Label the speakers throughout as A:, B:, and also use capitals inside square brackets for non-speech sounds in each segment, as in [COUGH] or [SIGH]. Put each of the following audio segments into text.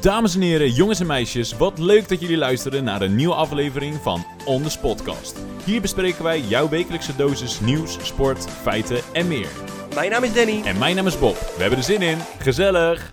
A: Dames en heren, jongens en meisjes, wat leuk dat jullie luisteren naar een nieuwe aflevering van On The Spotcast. Hier bespreken wij jouw wekelijkse dosis nieuws, sport, feiten en meer.
B: Mijn naam is Danny.
A: En mijn naam is Bob. We hebben er zin in. Gezellig!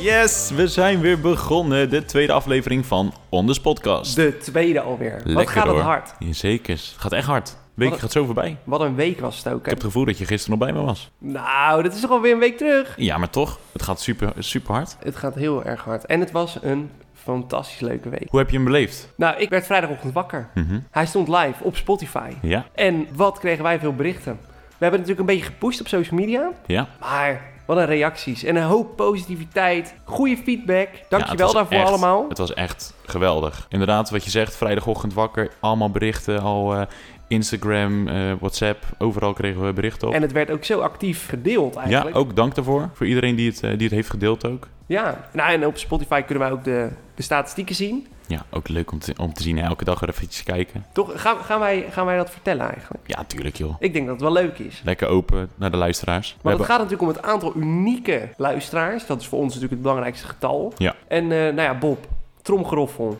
A: Yes, we zijn weer begonnen. De tweede aflevering van On The Spotcast.
B: De tweede alweer. Wat
A: Lekker,
B: gaat het
A: hoor.
B: hard?
A: Jazeker. Het gaat echt hard. De week
B: Wat-
A: gaat zo voorbij. Ik
B: Wat een week was het ook. Hè?
A: heb het gevoel dat je gisteren nog bij me was.
B: Nou, dat is toch alweer een week terug.
A: Ja, maar toch. Het gaat super, super hard.
B: Het gaat heel erg hard. En het was een fantastisch leuke week.
A: Hoe heb je hem beleefd?
B: Nou, ik werd vrijdagochtend wakker.
A: Mhm.
B: Hij stond live op Spotify.
A: Ja,
B: En wat kregen wij veel berichten? We hebben natuurlijk een beetje gepusht op social media.
A: ja.
B: Maar wat een reacties. En een hoop positiviteit. Goede feedback.
A: Ja, het
B: Dankjewel
A: was
B: daarvoor
A: echt-
B: allemaal.
A: Het was echt geweldig. Inderdaad, wat je zegt, vrijdagochtend wakker, allemaal berichten, al eh, Instagram, eh, WhatsApp, overal kregen we berichten op.
B: En het werd ook zo actief gedeeld
A: ja,
B: eigenlijk.
A: ook dank daarvoor, voor iedereen die het, eh, die het heeft gedeeld ook.
B: Ja. Nou, en op Spotify kunnen wij ook de, de statistieken zien.
A: Ja, ook leuk om te, om te zien, hè. elke dag weer eventjes kijken.
B: Toch, gaan, gaan, wij, gaan wij dat vertellen eigenlijk?
A: Ja, tuurlijk joh.
B: Ik denk dat het wel leuk is.
A: Lekker open naar de luisteraars. We
B: Maar het
A: hebben-
B: gaat natuurlijk om het aantal unieke luisteraars. Dat is voor ons natuurlijk het belangrijkste getal.
A: Ja.
B: En eh, nou ja, Bob, tromgeroffel.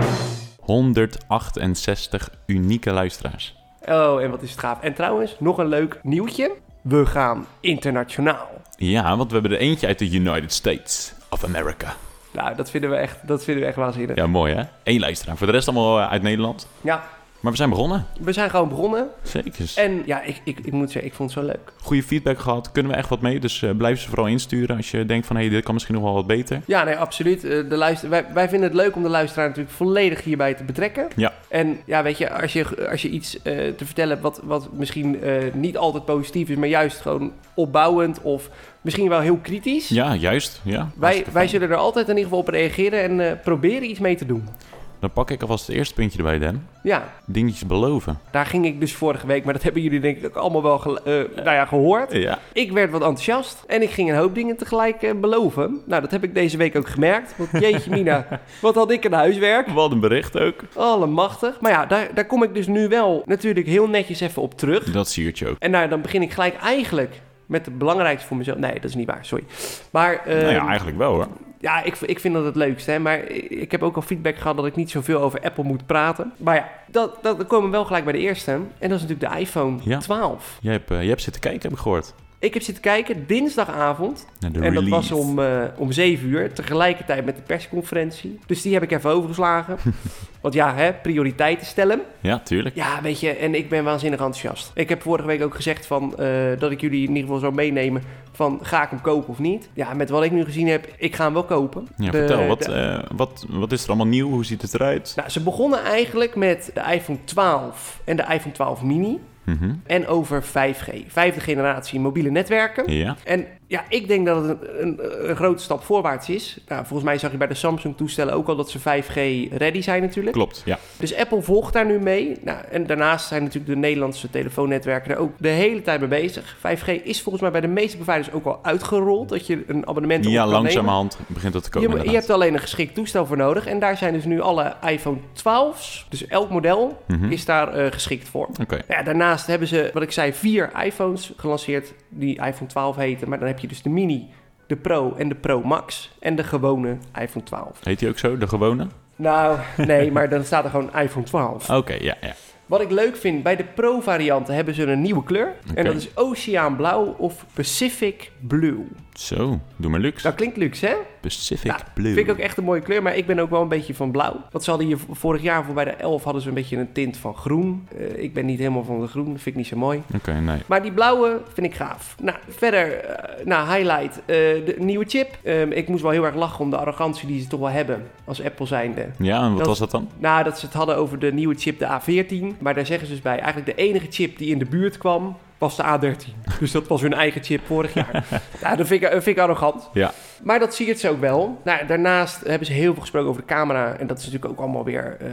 A: gaat 168 unieke luisteraars.
B: Oh, en wat is het gaaf. En trouwens, nog een leuk nieuwtje. We gaan internationaal.
A: Ja, want we hebben er eentje uit de United States of America.
B: Nou, dat vinden we echt, dat vinden we echt waanzinnig.
A: Ja, mooi hè? Eén luisteraar. Voor de rest allemaal eh, uit Nederland.
B: Ja,
A: Maar we zijn begonnen.
B: we zijn gewoon begonnen.
A: Zeker.
B: En ja, ik, ik, ik moet zeggen, ik vond het zo leuk.
A: Goede feedback gehad. Kunnen we echt wat mee. Dus eh, blijf ze vooral insturen als je denkt van... hé, hey, dit kan misschien nog wel wat beter.
B: Ja, nee, absoluut. Eh, De luister... wij, wij vinden het leuk om de luisteraar natuurlijk volledig hierbij te betrekken.
A: Ja.
B: En ja, weet je, als je, als je iets eh, te vertellen hebt wat, wat misschien eh, niet altijd positief is, maar juist gewoon opbouwend of misschien wel heel kritisch.
A: Ja, juist. Ja,
B: Wij,
A: Hartstikke
B: wij
A: fijn.
B: zullen er altijd in ieder geval op reageren en eh, proberen iets mee te doen.
A: Dan pak ik alvast het eerste puntje erbij, Dan.
B: Ja,
A: Dingetjes beloven.
B: daar ging ik dus vorige week, maar dat hebben jullie denk ik ook allemaal wel gel- eh, nou ja, gehoord.
A: Ja.
B: Ik werd wat enthousiast en ik ging een hoop dingen tegelijk eh, beloven. Nou, dat heb ik deze week ook gemerkt. Want
A: [LAUGHS]
B: jeetje mina, wat had ik een huiswerk.
A: Wat een bericht ook.
B: Allemachtig. Maar ja, daar, daar kom ik dus nu wel natuurlijk heel netjes even op terug.
A: Dat siertje ook.
B: En nou, dan begin ik gelijk eigenlijk met het belangrijkste voor mezelf. Nee, dat is niet waar, sorry. Maar ehm,
A: nou ja,
B: ja,
A: eigenlijk wel hoor.
B: ik, ik vind dat het leukste. Hè? Maar ik ik heb ook al feedback gehad dat ik niet zoveel over Apple moet praten. Maar ja, dat, dat, dan komen we wel gelijk bij de eerste. En dat is natuurlijk de iPhone
A: Ja.
B: 12.
A: Jij hebt, eh, jij hebt zitten kijken, heb ik gehoord.
B: Ik heb zitten kijken dinsdagavond.
A: Naar de
B: en dat
A: release.
B: was om, eh, om 7 uur, tegelijkertijd met de persconferentie. Dus die heb ik even overgeslagen.
A: [LAUGHS]
B: Want ja, hè, prioriteiten stellen.
A: Ja, tuurlijk.
B: Ja, weet je, en ik ben waanzinnig enthousiast. Ik heb vorige week ook gezegd van, eh, dat ik jullie in ieder geval zou meenemen van ga ik hem kopen of niet. Ja, met wat ik nu gezien heb, ik ga hem wel kopen.
A: Ja,
B: De-
A: vertel. Wat,
B: de-
A: eh, wat, wat is er allemaal nieuw? Hoe ziet het eruit?
B: nou, ze begonnen eigenlijk met de iPhone 12 en de iPhone 12 mini
A: Mhm.
B: en over 5G, vijfde generatie mobiele netwerken.
A: Ja.
B: En ja, ik denk dat het een, een, een grote stap voorwaarts is. Nou, volgens mij zag je bij de Samsung-toestellen ook al dat ze 5G ready zijn natuurlijk.
A: Klopt, ja.
B: Dus Apple volgt daar nu mee. Nou, en daarnaast zijn natuurlijk de Nederlandse telefoonnetwerken er ook de hele tijd mee bezig. 5G is volgens mij bij de meeste providers ook al uitgerold. Dat je een abonnement op
A: Ja,
B: kan nemen.
A: langzamerhand begint dat te komen.
B: Je, je
A: inderdaad.
B: hebt alleen een geschikt toestel voor nodig. En daar zijn dus nu alle iPhone 12's. Dus elk model
A: Mhm.
B: is daar eh, geschikt voor.
A: Oké.
B: Ja, daarnaast hebben ze, wat ik zei, vier iPhones gelanceerd die iPhone 12 heten. Maar dan heb je dus de mini, de Pro en de Pro Max en de gewone iPhone 12.
A: Heet die ook zo? De gewone?
B: Nou,
A: [LAUGHS]
B: nee, maar dan staat er gewoon iPhone 12.
A: Oké, ja, ja.
B: Wat ik leuk vind, bij de Pro-varianten hebben ze een nieuwe kleur. En dat is oceaanblauw of Pacific Blue.
A: Zo, doe maar luxe.
B: Dat klinkt luxe, hè?
A: Pacific
B: Ja,
A: Blue.
B: Vind ik ook echt een mooie kleur, maar ik ben ook wel een beetje van blauw. Want ze hadden hier v- vorig jaar voor bij de 11 hadden ze een beetje een tint van groen. Eh, ik ben niet helemaal van de groen, dat vind ik niet zo mooi.
A: Oké, nee.
B: Maar die blauwe vind ik gaaf. Nou, verder, eh, nou, highlight, eh, de nieuwe chip. Ehm, ik moest wel heel erg lachen om de arrogantie die ze toch wel hebben als Apple zijnde.
A: Ja, en wat
B: Dat-
A: was dat dan?
B: Nou, dat ze het hadden over de nieuwe chip, de A14. Maar daar zeggen ze dus bij, eigenlijk de enige chip die in de buurt kwam, was de A13. Dus dat was hun eigen chip
A: [LAUGHS]
B: vorig jaar. ja, dat vind ik, dat vind ik arrogant.
A: Ja.
B: Maar dat zie je het ze ook wel. Nou, daarnaast hebben ze heel veel gesproken over de camera. En dat is natuurlijk ook allemaal weer eh,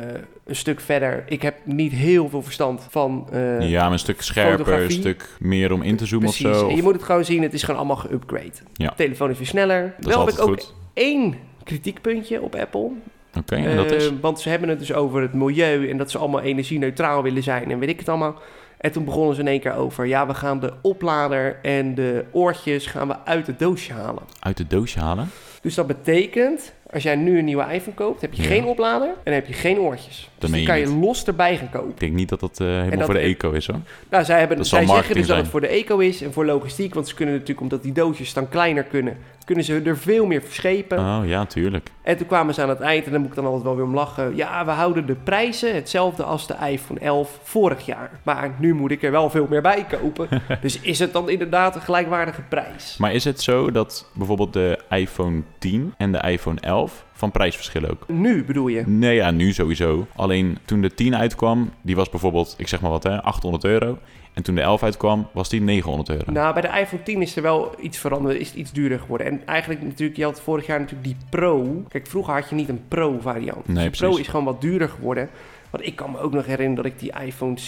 B: een stuk verder. Ik heb niet heel veel verstand van... eh,
A: ja, maar een stuk scherper, een
B: fotografie.
A: stuk meer om in te zoomen
B: Precies.
A: of zo.
B: En je
A: Of-
B: moet het gewoon zien, het is gewoon allemaal geüpgrade.
A: Ja.
B: De telefoon is weer sneller.
A: Dat is
B: wel heb
A: altijd
B: ik ook
A: goed.
B: één kritiekpuntje op Apple.
A: Oké, en dat is?
B: Eh, want ze hebben het dus over het milieu en dat ze allemaal energie-neutraal willen zijn en weet ik het allemaal. En toen begonnen ze in één keer over, ja, we gaan de oplader en de oortjes gaan we uit het doosje halen.
A: Uit de doosje halen?
B: Dus dat betekent, als jij nu een nieuwe iPhone koopt, heb je
A: Ja.
B: geen oplader en heb je geen oortjes.
A: meen
B: dus die
A: je
B: kan je
A: niet.
B: los erbij gaan kopen.
A: Ik denk niet dat dat eh, helemaal
B: dat
A: voor de
B: is-
A: eco is hoor.
B: Nou, zij, hebben,
A: Dat zal
B: zij zeggen
A: marketing
B: dus dat
A: zijn.
B: het voor de eco is en voor logistiek. Want ze kunnen natuurlijk, omdat die doosjes dan kleiner kunnen, kunnen ze er veel meer verschepen.
A: Oh ja, tuurlijk.
B: En toen kwamen ze aan het eind, en daar moet ik dan altijd wel weer om lachen. Ja, we houden de prijzen hetzelfde als de iPhone 11 vorig jaar. Maar nu moet ik er wel veel meer bij kopen.
A: [LAUGHS]
B: dus is het dan inderdaad een gelijkwaardige prijs?
A: Maar is het zo dat bijvoorbeeld de iPhone 10 en de iPhone 11 van prijs verschillen ook?
B: Nu bedoel je?
A: Nee, ja, nu sowieso. Alleen toen de 10 uitkwam, die was bijvoorbeeld, ik zeg maar wat, hè, 800 euro. En toen de 11 uitkwam, was die 900 euro.
B: Nou, bij de iPhone 10 is er wel iets veranderd, is het iets duurder geworden. En eigenlijk natuurlijk, je had vorig jaar natuurlijk die Pro. Kijk, vroeger had je niet een Pro variant. Dus
A: Nee,
B: de Pro
A: precies.
B: is gewoon wat duurder geworden. Want ik kan me ook nog herinneren dat ik die iPhone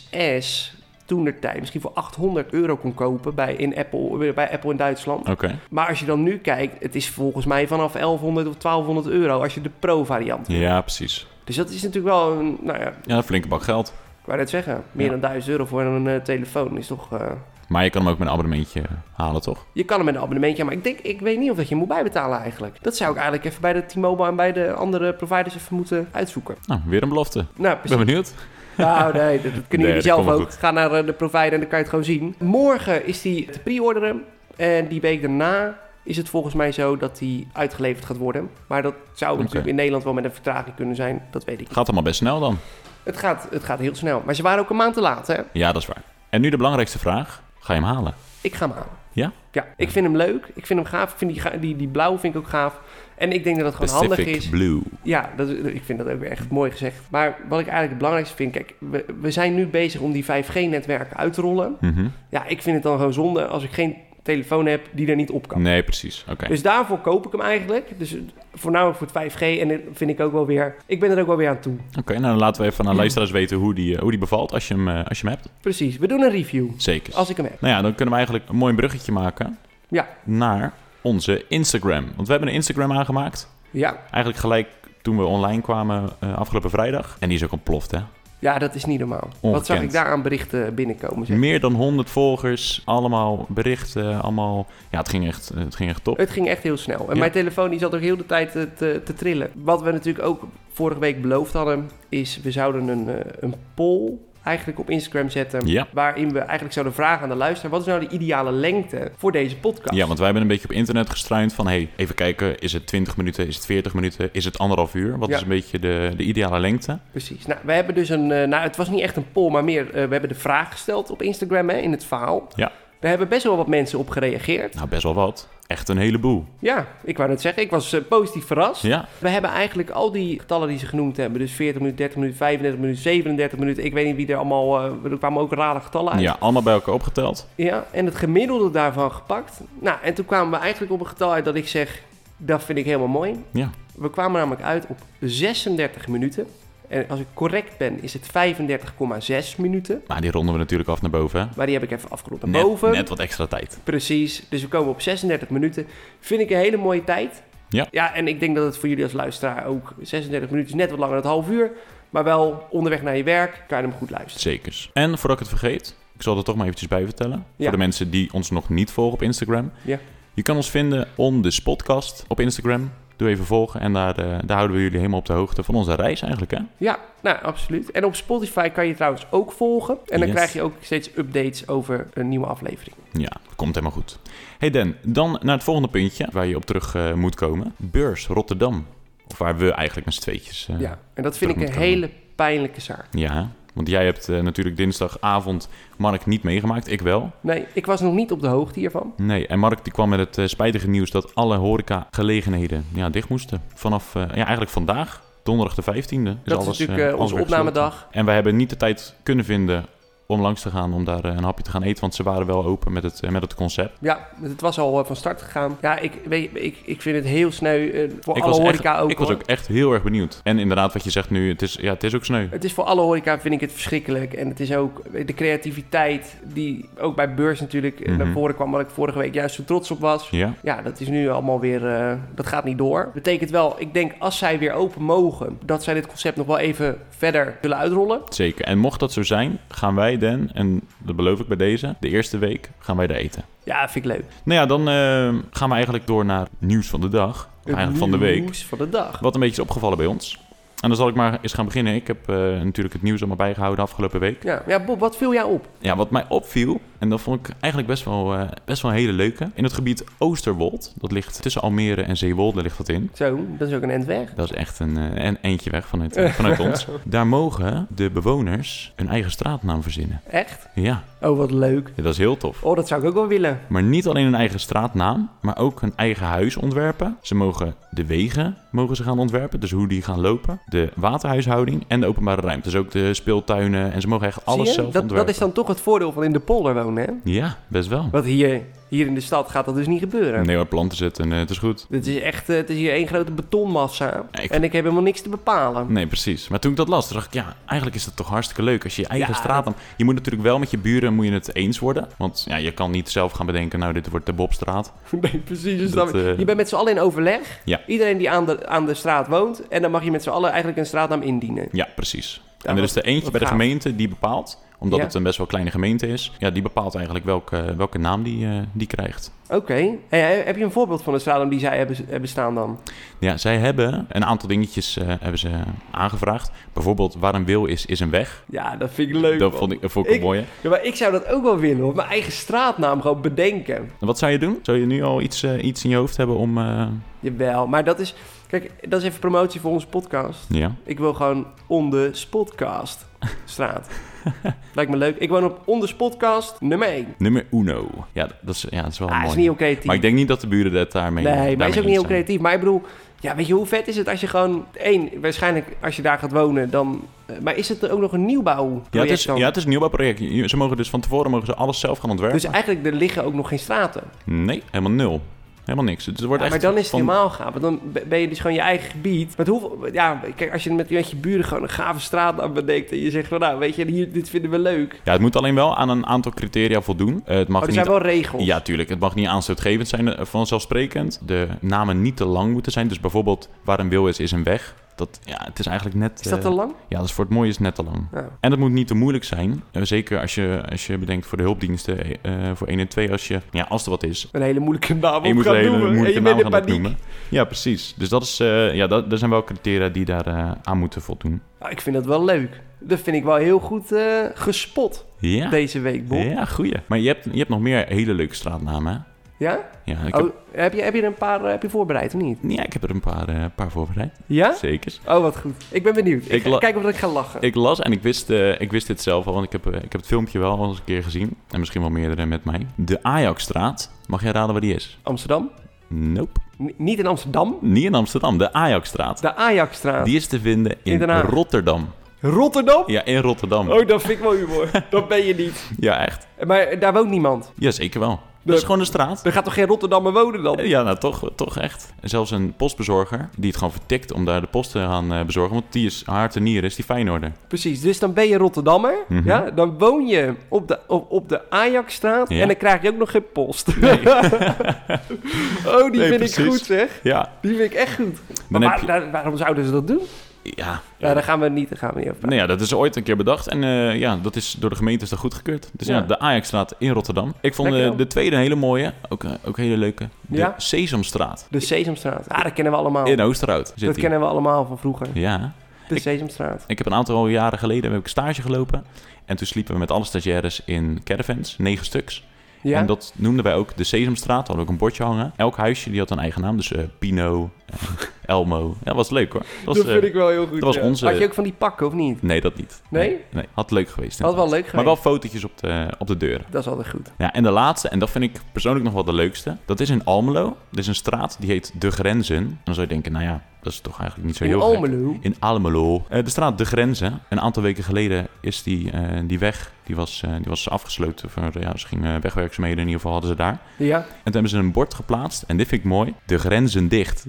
B: 6S toen de tijd misschien voor 800 euro kon kopen bij, in Apple, bij Apple in Duitsland.
A: Oké,
B: Maar als je dan nu kijkt, het is volgens mij vanaf 1100 of 1200 euro als je de pro-variant.
A: ja, precies.
B: Dus dat is natuurlijk wel een, nou ja,
A: Ja, een flinke bak geld.
B: ik wou net zeggen, meer
A: Ja.
B: dan 1000 euro voor een eh, telefoon is toch... eh,
A: Maar je kan hem ook met een abonnementje halen, toch?
B: je kan hem met een abonnementje, maar ik denk, ik weet niet of dat je moet bijbetalen eigenlijk. Dat zou ik eigenlijk even bij de T-Mobile en bij de andere providers even moeten uitzoeken.
A: Nou, weer een belofte.
B: Nou,
A: Ik
B: precies.
A: ben benieuwd.
B: Nou, nee, dat, dat
A: Nee,
B: kunnen jullie
A: dat
B: zelf
A: komt wel
B: ook. Ga naar eh, de provider en dan kan je het gewoon zien. Morgen is die te pre-orderen. En die week daarna is het volgens mij zo dat die uitgeleverd gaat worden. Maar dat zou
A: Oké.
B: natuurlijk in Nederland wel met een vertraging kunnen zijn. Dat weet ik niet.
A: Gaat allemaal best snel dan.
B: Het gaat, het gaat heel snel. Maar ze waren ook een maand te laat, hè?
A: Ja, dat is waar. En nu de belangrijkste vraag. Ga je hem halen?
B: Ik ga hem halen.
A: Ja?
B: Ja, ik vind hem leuk. Ik vind hem gaaf. Ik vind die, ga- die, die blauw vind ik ook gaaf. En ik denk dat het gewoon handig
A: Pacific
B: is.
A: Blue.
B: Ja, dat, ik vind dat ook weer echt mooi gezegd. Maar wat ik eigenlijk het belangrijkste vind... Kijk, we, we zijn nu bezig om die 5G-netwerken uit te rollen.
A: Mhm.
B: Ja, ik vind het dan gewoon zonde als ik geen telefoon heb die er niet op kan.
A: Nee, precies. Oké.
B: Dus daarvoor koop ik hem eigenlijk. Dus voornamelijk voor het 5G. En dat vind ik ook wel weer. Ik ben er ook wel weer aan toe.
A: Oké, nou dan laten we even aan de luisteraars weten hoe die, eh, hoe die bevalt als je, hem, eh, als je hem hebt.
B: Precies. We doen een review.
A: Zeker.
B: Als ik hem heb.
A: Nou ja, dan kunnen we eigenlijk een mooi bruggetje maken
B: Ja.
A: naar onze Instagram. Want we hebben een Instagram aangemaakt.
B: Ja.
A: Eigenlijk gelijk toen we online kwamen eh, afgelopen vrijdag. En die is ook ontploft, hè?
B: Ja, dat is niet normaal. Wat zag
A: Ongekend.
B: ik daar aan berichten binnenkomen? zeg.
A: Meer dan 100 volgers, allemaal berichten, allemaal... Ja, het ging echt, het ging echt top.
B: Het ging echt heel snel. En
A: Ja.
B: mijn telefoon die zat ook heel de tijd te, te, te trillen. Wat we natuurlijk ook vorige week beloofd hadden, is we zouden een, eh, een poll eigenlijk op Instagram zetten.
A: Ja.
B: Waarin we eigenlijk zouden vragen aan de luisteraar: wat is nou de ideale lengte voor deze podcast?
A: Ja, want wij hebben een beetje op internet gestruind van... hey, even kijken, is het 20 minuten, is het 40 minuten, is het anderhalf uur? Wat
B: Ja.
A: is een beetje de, de ideale lengte?
B: Precies. Nou, we hebben dus een. eh, nou, het was niet echt een poll, maar meer. eh, we hebben de vraag gesteld op Instagram hè, in het verhaal.
A: Ja.
B: Daar hebben best wel wat mensen op gereageerd.
A: Nou, best wel wat. Echt een heleboel.
B: Ja, ik wou net zeggen, ik was eh, positief verrast.
A: Ja,
B: We hebben eigenlijk al die getallen die ze genoemd hebben. Dus 40 minuten, 30 minuten, 35 minuten, 37 minuten. Ik weet niet wie er allemaal. eh, er kwamen ook rare getallen uit.
A: ja allemaal bij elkaar opgeteld.
B: Ja, En het gemiddelde daarvan gepakt. Nou, en toen kwamen we eigenlijk op een getal uit dat ik zeg. Dat vind ik helemaal mooi.
A: Ja,
B: We kwamen namelijk uit op 36 minuten. En als ik correct ben, is het 35,6 minuten.
A: maar Nou, die ronden we natuurlijk af naar boven, hè?
B: Maar die heb ik even afgerond naar
A: Net-
B: boven.
A: net wat extra tijd.
B: Precies. Dus we komen op 36 minuten. Vind ik een hele mooie tijd.
A: Ja.
B: Ja, en ik denk dat het voor jullie als luisteraar ook 36 minuten is net wat langer dan het half uur. Maar wel onderweg naar je werk kan je hem goed luisteren.
A: Zekers. En voordat ik het vergeet, ik zal er toch maar eventjes bij vertellen.
B: Ja.
A: Voor de mensen die ons nog niet volgen op Instagram.
B: Ja.
A: Je kan ons vinden on the podcast op Instagram. Doe even volgen en daar, eh, daar houden we jullie helemaal op de hoogte van onze reis eigenlijk. Hè?
B: Ja, nou absoluut. En op Spotify kan je trouwens ook volgen. En dan
A: Yes.
B: krijg je ook steeds updates over een nieuwe aflevering.
A: Ja, komt helemaal goed. Hey Dan, dan naar het volgende puntje waar je op terug eh, moet komen. Beurs Rotterdam. Of waar we eigenlijk met z'n tweetjes... eh,
B: Ja. En dat
A: terug
B: vind ik een
A: moet komen.
B: hele pijnlijke zaak.
A: ja, hè? want jij hebt eh, natuurlijk dinsdagavond Mark niet meegemaakt, ik wel.
B: Nee, ik was nog niet op de hoogte hiervan.
A: Nee, en Mark die kwam met het eh, spijtige nieuws dat alle horecagelegenheden ja, dicht moesten. Vanaf, eh, ja, eigenlijk vandaag, donderdag de 15e.
B: dat is natuurlijk
A: eh,
B: eh,
A: alles
B: onze
A: weer gesloten.
B: opnamedag.
A: En wij hebben niet de tijd kunnen vinden om langs te gaan om daar eh, een hapje te gaan eten. Want ze waren wel open met het, eh, met het concept.
B: Ja, het was al eh, van start gegaan. Ja, ik, weet, je, ik, ik vind het heel sneu eh, voor
A: ik
B: alle
A: was,
B: horeca
A: echt,
B: ook.
A: ik was
B: hoor.
A: ook echt heel erg benieuwd. En inderdaad, wat je zegt nu, het is, ja, het is ook sneu.
B: Het is voor alle horeca vind ik het verschrikkelijk. En het is ook de creativiteit die ook bij beurs natuurlijk eh, naar
A: Mhm.
B: voren kwam, waar ik vorige week juist zo trots op was.
A: Ja.
B: Ja, dat is nu allemaal weer. eh, dat gaat niet door. Betekent wel, ik denk als zij weer open mogen, dat zij dit concept nog wel even verder willen uitrollen.
A: Zeker. En mocht dat zo zijn, gaan wij Dan, en dat beloof ik bij deze, de eerste week gaan wij daar eten.
B: Ja, vind ik leuk.
A: Nou ja, dan eh, gaan we eigenlijk door naar nieuws van de dag. Of eigenlijk van de week.
B: Nieuws van de dag.
A: Wat een beetje is opgevallen bij ons. En dan zal ik maar eens gaan beginnen. Ik heb eh, natuurlijk het nieuws allemaal bijgehouden afgelopen week.
B: Ja, ja, Bob, wat viel jou op?
A: Ja, wat mij opviel, en dat vond ik eigenlijk best wel, eh, best wel een hele leuke. In het gebied Oosterwold, dat ligt tussen Almere en Zeewolde, ligt dat in.
B: Zo, dat is ook een end weg.
A: Dat is echt een, eh, een eentje weg vanuit, eh, vanuit ons. Daar mogen de bewoners een eigen straatnaam verzinnen.
B: Echt?
A: Ja,
B: Oh, wat leuk.
A: dat is heel tof.
B: Oh, dat zou ik ook wel willen.
A: Maar niet alleen een eigen straatnaam, maar ook een eigen huis ontwerpen. Ze mogen de wegen mogen ze gaan ontwerpen, dus hoe die gaan lopen. De waterhuishouding en de openbare ruimte. Dus ook de speeltuinen en ze mogen echt alles
B: Zie je?
A: zelf
B: dat, dat
A: ontwerpen.
B: is dan toch het voordeel van in de polder wonen, hè?
A: Ja, best wel.
B: Want hier, hier in de stad gaat dat dus niet gebeuren.
A: Nee hoor, planten zetten, eh, het is goed.
B: Het is echt, eh, het is hier één grote betonmassa.
A: Ja, ik-
B: En ik heb helemaal niks te bepalen.
A: Nee, precies. Maar toen ik dat las, toen dacht ik, ja, eigenlijk is dat toch hartstikke leuk. Als je je eigen
B: Ja,
A: straatnaam... Je moet natuurlijk wel met je buren moet je het eens worden. Want ja, je kan niet zelf gaan bedenken, nou, dit wordt de Bobstraat.
B: [LAUGHS] Nee, precies. dus
A: Dat,
B: dan-
A: eh,
B: Je bent met z'n allen in overleg.
A: Ja.
B: Iedereen die aan de, aan de straat woont. En dan mag je met z'n allen eigenlijk een straatnaam indienen.
A: Ja, precies. en
B: Ja,
A: er
B: wat-
A: is er eentje
B: wat
A: bij de
B: gaaf.
A: gemeente die bepaalt, omdat
B: Ja.
A: het een best wel kleine gemeente is, ja, die bepaalt eigenlijk welke, welke naam die, eh, die krijgt.
B: Oké. Hey, heb je een voorbeeld van een straatnaam die zij hebben, hebben staan dan?
A: Ja, zij hebben een aantal dingetjes eh, hebben ze aangevraagd. Bijvoorbeeld, waar een wil is, is een weg.
B: Ja, dat vind ik leuk.
A: dat
B: man.
A: vond ik, dat vond ik een
B: Ik-
A: mooie.
B: Ja, maar ik zou dat ook wel willen. Of mijn eigen straatnaam gewoon bedenken.
A: En wat zou je doen? Zou je nu al iets, eh, iets in je hoofd hebben om... eh,
B: Jawel. Maar dat is... Kijk, dat is even promotie voor onze podcast.
A: ja,
B: Ik wil gewoon on the spotcast
A: [LAUGHS]
B: straat. Lijkt me leuk. Ik woon op on the spotcast nummer 1.
A: nummer uno. Ja, dat is, ja, dat is wel
B: Ah,
A: Oh, mooi.
B: is niet heel creatief.
A: Maar ik denk niet dat de buren dat daarmee
B: nee, maar
A: daarmee
B: is ook niet heel
A: eens zijn.
B: creatief. Maar ik bedoel, ja, weet je hoe vet is het als je gewoon... één, waarschijnlijk als je daar gaat wonen, dan... eh, Maar is het er ook nog een nieuwbouw?
A: Ja, het is, ja, het is een nieuwbouwproject. Je- Ze mogen dus van tevoren mogen ze alles zelf gaan ontwerpen.
B: Dus eigenlijk, er liggen ook nog geen straten.
A: Nee, helemaal nul. Helemaal niks. Het wordt
B: Dus- Ja, maar
A: echt
B: dan is het
A: van-
B: helemaal gaaf. Want dan be- ben je dus gewoon je eigen gebied. Met hoeveel, ja, kijk, als je met, met je buren gewoon een gave straat aan bedenkt... en je zegt van, nou, weet je, hier, dit vinden we leuk.
A: Ja, het moet alleen wel aan een aantal criteria voldoen. Eh, het mag
B: Oh, er
A: niet...
B: zijn wel regels.
A: Ja, tuurlijk. Het mag niet aanstootgevend zijn, eh, vanzelfsprekend. De namen niet te lang moeten zijn. Dus bijvoorbeeld, waar een wil is, is een weg. Dat, ja, het is eigenlijk net...
B: Is dat
A: eh,
B: te lang? Nou.
A: Ja, dat is voor het mooie is het net te lang.
B: Ja.
A: En het moet niet te moeilijk zijn. Eh, Zeker als je, als je bedenkt voor de hulpdiensten, eh, eh, voor 1 en 2, als, je, ja, als er wat is.
B: een hele moeilijke naam
A: Je
B: op
A: moet
B: gaan
A: een hele
B: noemen. en
A: moeilijke
B: je
A: naam
B: bent in
A: gaan
B: paniek.
A: opnoemen. Ja, precies. Dus dat is, eh, ja, dat, er zijn wel criteria die daar eh, aan moeten voldoen.
B: Ah, ik vind dat wel leuk. Dat vind ik wel heel goed eh, gespot
A: Ja,
B: deze week, Bob.
A: ja goeie. Maar je hebt, je hebt nog meer hele leuke straatnamen, hè?
B: Ja?
A: Ja, ik
B: Oh,
A: heb,
B: heb, je, heb je er een paar eh, heb je voorbereid of niet?
A: ja, ik heb er een paar, eh, paar voorbereid.
B: Ja?
A: Zeker.
B: Oh, wat goed. Ik ben benieuwd. Ik,
A: Ik
B: ga
A: la-
B: kijken of ik ga lachen.
A: Ik las en ik wist, eh, ik wist dit zelf al, want ik heb, eh, ik heb het filmpje wel al eens een keer gezien. En misschien wel meerdere met mij. De Ajaxstraat. Mag jij raden waar die is?
B: Amsterdam?
A: Nope.
B: N- niet in Amsterdam?
A: Niet in Amsterdam, de Ajaxstraat.
B: De Ajaxstraat.
A: Die is te vinden in,
B: In Den Haag.
A: Rotterdam.
B: Rotterdam?
A: Ja, in Rotterdam.
B: Oh, dat vind ik wel humor. [LAUGHS] dat ben je niet.
A: Ja, echt.
B: Maar daar woont niemand.
A: Ja, zeker wel. Dat
B: Nee.
A: is gewoon een straat.
B: Er gaat toch geen Rotterdammer wonen dan?
A: Ja, nou toch, toch echt. En zelfs een postbezorger die het gewoon vertikt om daar de post te gaan eh, bezorgen. Want die is haar tenier, is die Feyenoorder.
B: Precies, dus dan ben je Rotterdammer.
A: Mhm.
B: ja? Dan woon je op de, op, op de Ajaxstraat.
A: Ja.
B: En dan krijg je ook nog geen post. [LAUGHS] oh, die
A: Nee,
B: vind
A: precies.
B: ik goed zeg.
A: Ja,
B: Die vind ik echt goed.
A: dan
B: Maar
A: heb
B: waar-
A: je...
B: daar- waarom zouden ze dat doen?
A: Ja,
B: Nou, daar gaan we niet, daar gaan we niet over praten.
A: Nou ja, dat is ooit een keer bedacht. En eh, ja, dat is door de gemeente is dat goedgekeurd. Dus ja,
B: Ja.
A: de Ajaxstraat in Rotterdam. Ik vond
B: Lekker
A: eh,
B: dan.
A: de tweede een hele mooie. Ook, eh, ook een hele leuke. De
B: Ja?
A: Sesamstraat.
B: De Sesamstraat. Ah, dat kennen we allemaal.
A: In Oosterhout zit
B: dat
A: die.
B: kennen we allemaal van vroeger.
A: Ja.
B: De
A: Ik-
B: Sesamstraat.
A: Ik heb een aantal jaren geleden heb ik stage gelopen. En toen sliepen we met alle stagiaires in caravans. Negen stuks.
B: Ja?
A: En dat noemden wij ook de Sesamstraat. Hadden we ook een bordje hangen. Elk huisje die had een eigen naam. Dus eh, Pino, eh, Elmo. Ja, dat was leuk hoor. Dat was,
B: Dat
A: eh,
B: vind ik wel heel goed.
A: dat was
B: ja.
A: onze-
B: Had je ook van die pakken of niet?
A: Nee, dat niet.
B: Nee?
A: Nee, had leuk geweest.
B: Dat was wel leuk geweest.
A: maar wel fotootjes op de, op de deuren.
B: Dat is altijd goed.
A: Ja, en de laatste, en dat vind ik persoonlijk nog wel de leukste. Dat is in Almelo. Er is een straat die heet De Grenzen. En dan zou je denken, nou ja, dat is toch eigenlijk niet zo
B: In
A: heel gek.
B: Almelo.
A: In Almelo. Eh, de straat De Grenzen. Een aantal weken geleden is die, eh, die weg, die was, eh, die was afgesloten. Voor, ja, ze gingen wegwerkzaamheden in ieder geval hadden ze daar.
B: Ja. [LAUGHS]
A: En toen hebben ze een bord geplaatst. En dit vind ik mooi. De grenzen dicht.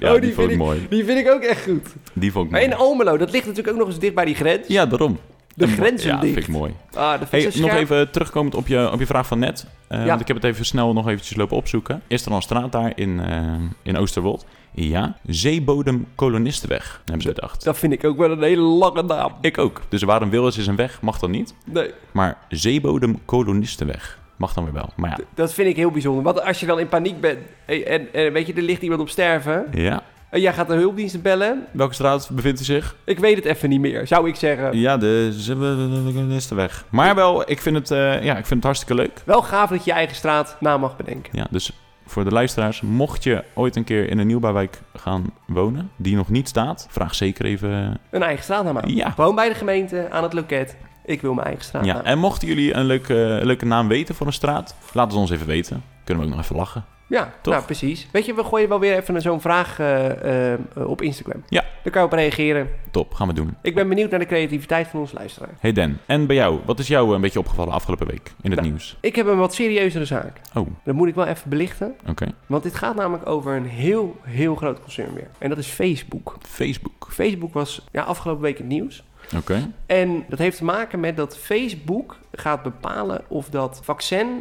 A: Ja, die, vond ik mooi.
B: Die Oh, vind ik ook echt goed.
A: Die vond ik
B: Maar
A: mooi.
B: in Almelo, dat ligt natuurlijk ook nog eens dicht bij die grens.
A: Ja, daarom.
B: De
A: Een mo-
B: grenzen
A: ja,
B: dicht.
A: vind ik mooi.
B: Ah, dat vind
A: Hey,
B: ik zo
A: nog
B: scherp.
A: even terugkomend op je, op je vraag van net. Eh,
B: Ja.
A: Want ik heb het even snel nog eventjes lopen opzoeken. Is er al een straat daar in, eh, in Oosterwold? Ja, Zeebodem Kolonistenweg, hebben ze bedacht.
B: Dat vind ik ook wel een hele lange naam.
A: Ik ook. Dus waar een wil is, is een weg. Mag dan niet.
B: Nee,
A: Maar Zeebodem Kolonistenweg mag dan weer wel. Maar
B: dat vind ik heel bijzonder. Want als je dan in paniek bent hey, en, en weet je, er ligt iemand op sterven.
A: ja. ja.
B: En jij gaat de hulpdiensten bellen.
A: Welke straat bevindt u zich?
B: Ik weet het even niet meer, zou ik zeggen.
A: Ja, de Zeebodemkolonistenweg. Maar wel, ik vind, het, eh, ja, ik vind het hartstikke leuk.
B: Wel gaaf dat je je eigen straat na mag bedenken.
A: Ja, dus voor de luisteraars, mocht je ooit een keer in een nieuwbouwwijk gaan wonen, die nog niet staat, vraag zeker even.
B: Een eigen straatnaam aan.
A: Ja.
B: Gewoon bij de gemeente, aan het loket. Ik wil mijn eigen straatnaam.
A: Ja,
B: Oh. Ja,
A: en mochten jullie een leuke, leuke naam weten voor een straat, laat het ons even weten. Kunnen we ook nog even lachen. toch?
B: nou precies. Weet je, we gooien wel weer even zo'n vraag eh, eh, op Instagram.
A: Ja.
B: Daar kan je op reageren.
A: Top, gaan we doen.
B: Ik ben benieuwd naar de creativiteit van ons luisteraar.
A: Hey Dan, en bij jou, wat is jou een beetje opgevallen afgelopen week in het
B: Nou.
A: nieuws?
B: Ik heb een wat serieuzere zaak.
A: Oh, oké.
B: Dat moet ik wel even belichten. Want dit gaat namelijk over een heel, heel groot concern weer. En dat is Facebook.
A: Facebook.
B: Facebook was ja, afgelopen week in het nieuws.
A: Oké.
B: En dat heeft te maken met dat Facebook gaat bepalen of dat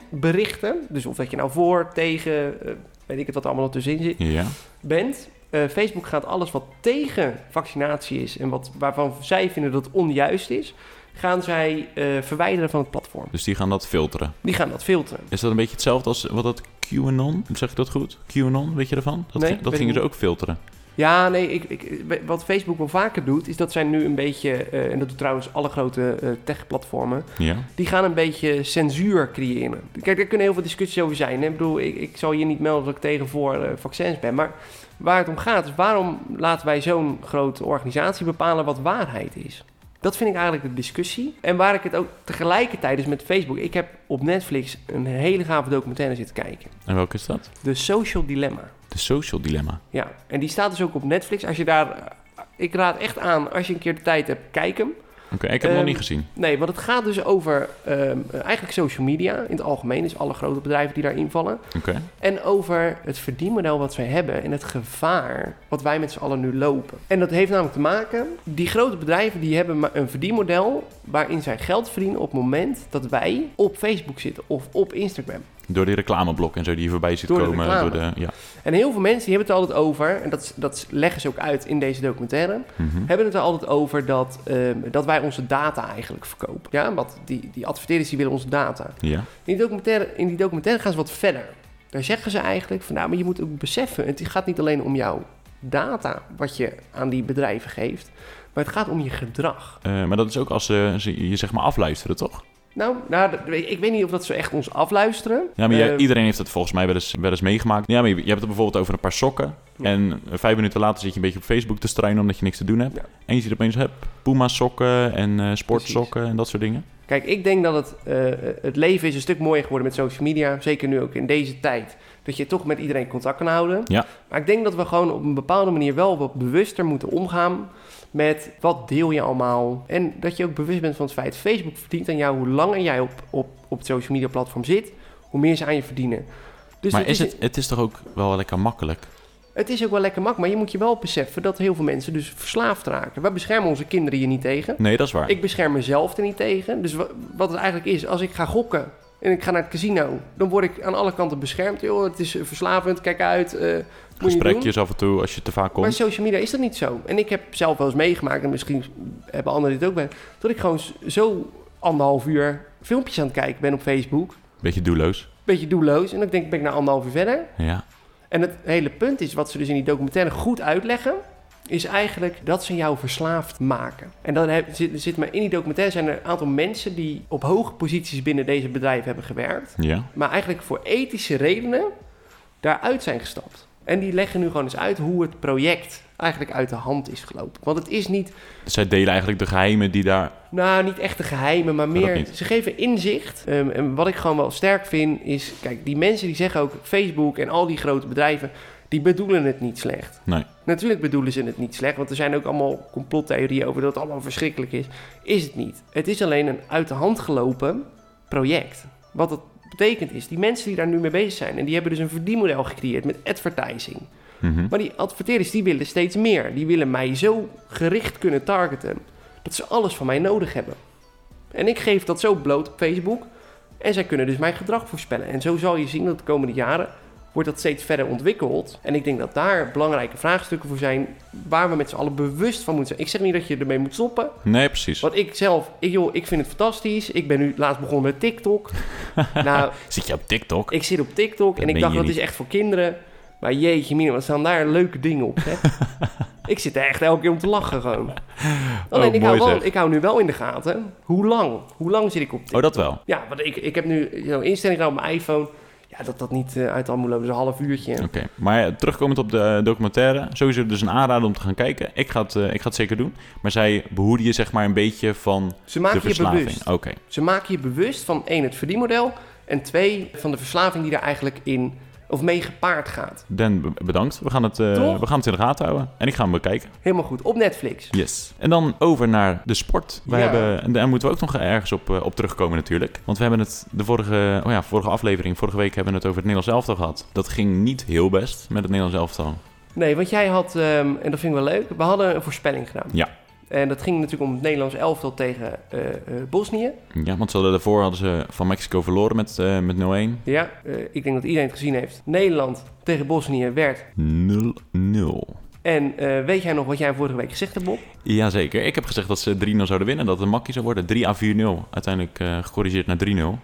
B: vaccinberichten... dus of dat je nou voor, tegen, eh, weet ik het wat er allemaal nog tussenin zit,
A: Ja.
B: bent... Eh, Facebook gaat alles wat tegen vaccinatie is en wat, waarvan zij vinden dat het onjuist is... gaan zij eh, verwijderen van het platform.
A: Dus die gaan dat filteren.
B: Die gaan dat filteren.
A: Is dat een beetje hetzelfde als wat dat QAnon? Zeg ik dat goed? QAnon, weet je ervan? Dat,
B: Nee,
A: ging- dat
B: weet
A: gingen
B: ik
A: ze ook filteren.
B: Ja, nee, ik, ik, wat Facebook wel vaker doet, is dat zij nu een beetje, eh, en dat doen trouwens alle grote eh, tech-platformen,
A: Ja.
B: die gaan een beetje censuur creëren. Kijk, daar kunnen heel veel discussies over zijn. Hè? Ik bedoel, ik, ik zal je niet melden dat ik tegen voor eh, vaccins ben, maar waar het om gaat is waarom laten wij zo'n grote organisatie bepalen wat waarheid is? Dat vind ik eigenlijk de discussie. En waar ik het ook tegelijkertijd is met Facebook. Ik heb op Netflix een hele gave documentaire zitten kijken.
A: En welke is dat?
B: The Social Dilemma.
A: De social dilemma.
B: Ja, en die staat dus ook op Netflix. Als je daar, ik raad echt aan, als je een keer de tijd hebt, kijk hem.
A: Oké, ik heb het
B: Ehm,
A: nog niet gezien.
B: Nee, want het gaat dus over ehm, eigenlijk social media in het algemeen. Dus alle grote bedrijven die daarin vallen.
A: Oké.
B: En over het verdienmodel wat zij hebben en het gevaar wat wij met z'n allen nu lopen. En dat heeft namelijk te maken, die grote bedrijven die hebben maar een verdienmodel waarin zij geld verdienen op het moment dat wij op Facebook zitten of op Instagram.
A: Door die reclameblok en zo die hier voorbij ziet
B: Door de
A: komen.
B: reclame.
A: Door de, ja.
B: En heel veel mensen die hebben het er altijd over, en dat, dat leggen ze ook uit in deze documentaire,
A: Mhm.
B: hebben het er altijd over dat, ehm, dat wij onze data eigenlijk verkopen. Ja, want die, die adverteerders die willen onze data.
A: ja.
B: In die, documentaire, in die documentaire gaan ze wat verder. Daar zeggen ze eigenlijk van, nou, maar je moet ook beseffen, het gaat niet alleen om jouw data wat je aan die bedrijven geeft, maar het gaat om je gedrag.
A: Eh, maar dat is ook als ze, ze je zeg maar afluisteren, toch?
B: Nou, nou, dat- ik weet niet of dat ze echt ons afluisteren.
A: Ja, maar jij-
B: Eh,
A: iedereen heeft het volgens mij wel eens, wel eens meegemaakt. Ja, maar je, je hebt het bijvoorbeeld over een paar sokken.
B: Ja.
A: En eh, vijf minuten later zit je een beetje op Facebook te struinen omdat je niks te doen hebt.
B: Ja.
A: En je ziet opeens, heb, Puma sokken en eh, sportsokken en dat soort dingen.
B: Kijk, ik denk dat het, eh, het leven is een stuk mooier geworden met social media. Zeker nu ook in deze tijd. Dat je toch met iedereen contact kan houden.
A: Ja.
B: Maar ik denk dat we gewoon op een bepaalde manier wel wat bewuster moeten omgaan met wat deel je allemaal. En dat je ook bewust bent van het feit, Facebook verdient aan jou hoe langer jij op, op, op het social media platform zit, hoe meer ze aan je verdienen. Dus
A: maar
B: het
A: is het, het is toch ook wel lekker makkelijk?
B: het is ook wel lekker mak, maar je moet je wel beseffen dat heel veel mensen dus verslaafd raken. Wij beschermen onze kinderen hier niet tegen.
A: Nee, dat is waar.
B: Ik bescherm mezelf er niet tegen. Dus wa- wat het eigenlijk is, als ik ga gokken en ik ga naar het casino, dan word ik aan alle kanten beschermd. Joh, het is eh, verslavend, kijk uit. eh, moet je niet doen.
A: Gesprekjes af en toe als je te vaak
B: Maar
A: komt.
B: social media is dat niet zo. En ik heb zelf wel eens meegemaakt, en misschien hebben anderen dit ook bij, dat ik gewoon s- zo anderhalf uur filmpjes aan het kijken ben op Facebook.
A: Beetje doelloos.
B: Beetje doelloos. En dan denk ik, ben ik na anderhalf uur verder.
A: Ja.
B: En het hele punt is, wat ze dus in die documentaire goed uitleggen, is eigenlijk dat ze jou verslaafd maken. En dan heb, zit, zit maar in die documentaire zijn er een aantal mensen die op hoge posities binnen deze bedrijven hebben gewerkt,
A: Ja.
B: maar eigenlijk voor ethische redenen daaruit zijn gestapt. En die leggen nu gewoon eens uit hoe het project eigenlijk uit de hand is gelopen. Want het is niet,
A: Dus zij delen eigenlijk de geheimen die daar...
B: nou niet echt de geheimen, maar
A: dat
B: meer,
A: niet.
B: ze geven inzicht. Ehm, en wat ik gewoon wel sterk vind is, kijk, die mensen die zeggen ook Facebook en al die grote bedrijven, die bedoelen het niet slecht.
A: Nee,
B: Natuurlijk bedoelen ze het niet slecht, want er zijn ook allemaal complottheorieën over dat het allemaal verschrikkelijk is. Is het niet. Het is alleen een uit de hand gelopen project. Wat dat betekent is, die mensen die daar nu mee bezig zijn... en die hebben dus een verdienmodel gecreëerd met advertising.
A: Mhm.
B: Maar die adverteerders die willen steeds meer. Die willen mij zo gericht kunnen targeten dat ze alles van mij nodig hebben. En ik geef dat zo bloot op Facebook. En zij kunnen dus mijn gedrag voorspellen. En zo zal je zien dat de komende jaren wordt dat steeds verder ontwikkeld. En ik denk dat daar belangrijke vraagstukken voor zijn waar we met z'n allen bewust van moeten zijn. Ik zeg niet dat je ermee moet stoppen.
A: nee precies.
B: Want ik zelf, ik, joh, ik vind het fantastisch. Ik ben nu laatst begonnen met TikTok. nou,
A: Zit je op TikTok?
B: ik zit op TikTok
A: Dat
B: en ik
A: meen
B: dacht
A: je
B: dat
A: niet.
B: is echt voor kinderen. Maar jeetje mina, wat staan daar leuke dingen op,
A: [LAUGHS]
B: hè? ik zit er echt elke keer om te lachen gewoon. Alleen, ik,
A: Oh, mooi
B: hou wel,
A: zeg.
B: ik hou nu wel in de gaten, hoe lang? Hoe lang zit ik op TikTok?
A: Oh, dat wel.
B: Ja, want ik, ik heb nu zo'n instelling gedaan op mijn iPhone. Ja, dat dat niet eh, uit de hand moet lopen, dus een half uurtje.
A: Oké, maar eh, terugkomend op de eh, documentaire, sowieso dus een aanrader om te gaan kijken. Ik ga het, eh, ik ga het zeker doen. Maar zij behoeden je zeg maar een beetje van
B: Ze maken
A: de
B: je
A: verslaving. Oh.
B: bewust.
A: Oké,
B: Ze maken je bewust van één, het verdienmodel... en twee, van de verslaving die daar eigenlijk in of mee gepaard gaat.
A: Dan be- bedankt. We gaan, het, eh,
B: Toch?
A: we gaan het in de gaten houden en ik ga hem bekijken.
B: Helemaal goed, op Netflix.
A: Yes. En dan over naar de sport. We
B: Ja.
A: hebben, en daar moeten we ook nog ergens op, eh, op terugkomen natuurlijk. Want we hebben het de vorige, oh ja, vorige aflevering, vorige week hebben we het over het Nederlands elftal gehad. Dat ging niet heel best met het Nederlands elftal.
B: Nee, want jij had, ehm, en dat vind ik wel leuk, we hadden een voorspelling gedaan.
A: Ja.
B: En dat ging natuurlijk om het Nederlands elftal tegen eh, eh, Bosnië.
A: Ja, want ze hadden daarvoor hadden ze van Mexico verloren met, eh, met 0-1.
B: Ja, eh, ik denk dat iedereen het gezien heeft. Nederland tegen Bosnië werd.
A: 0-0.
B: En eh, weet jij nog wat jij vorige week gezegd hebt, Bob?
A: Jazeker. Ik heb gezegd dat ze 3-0 zouden winnen. Dat het een makkie zou worden. 3 à 4-0. Uiteindelijk eh, gecorrigeerd naar 3-0.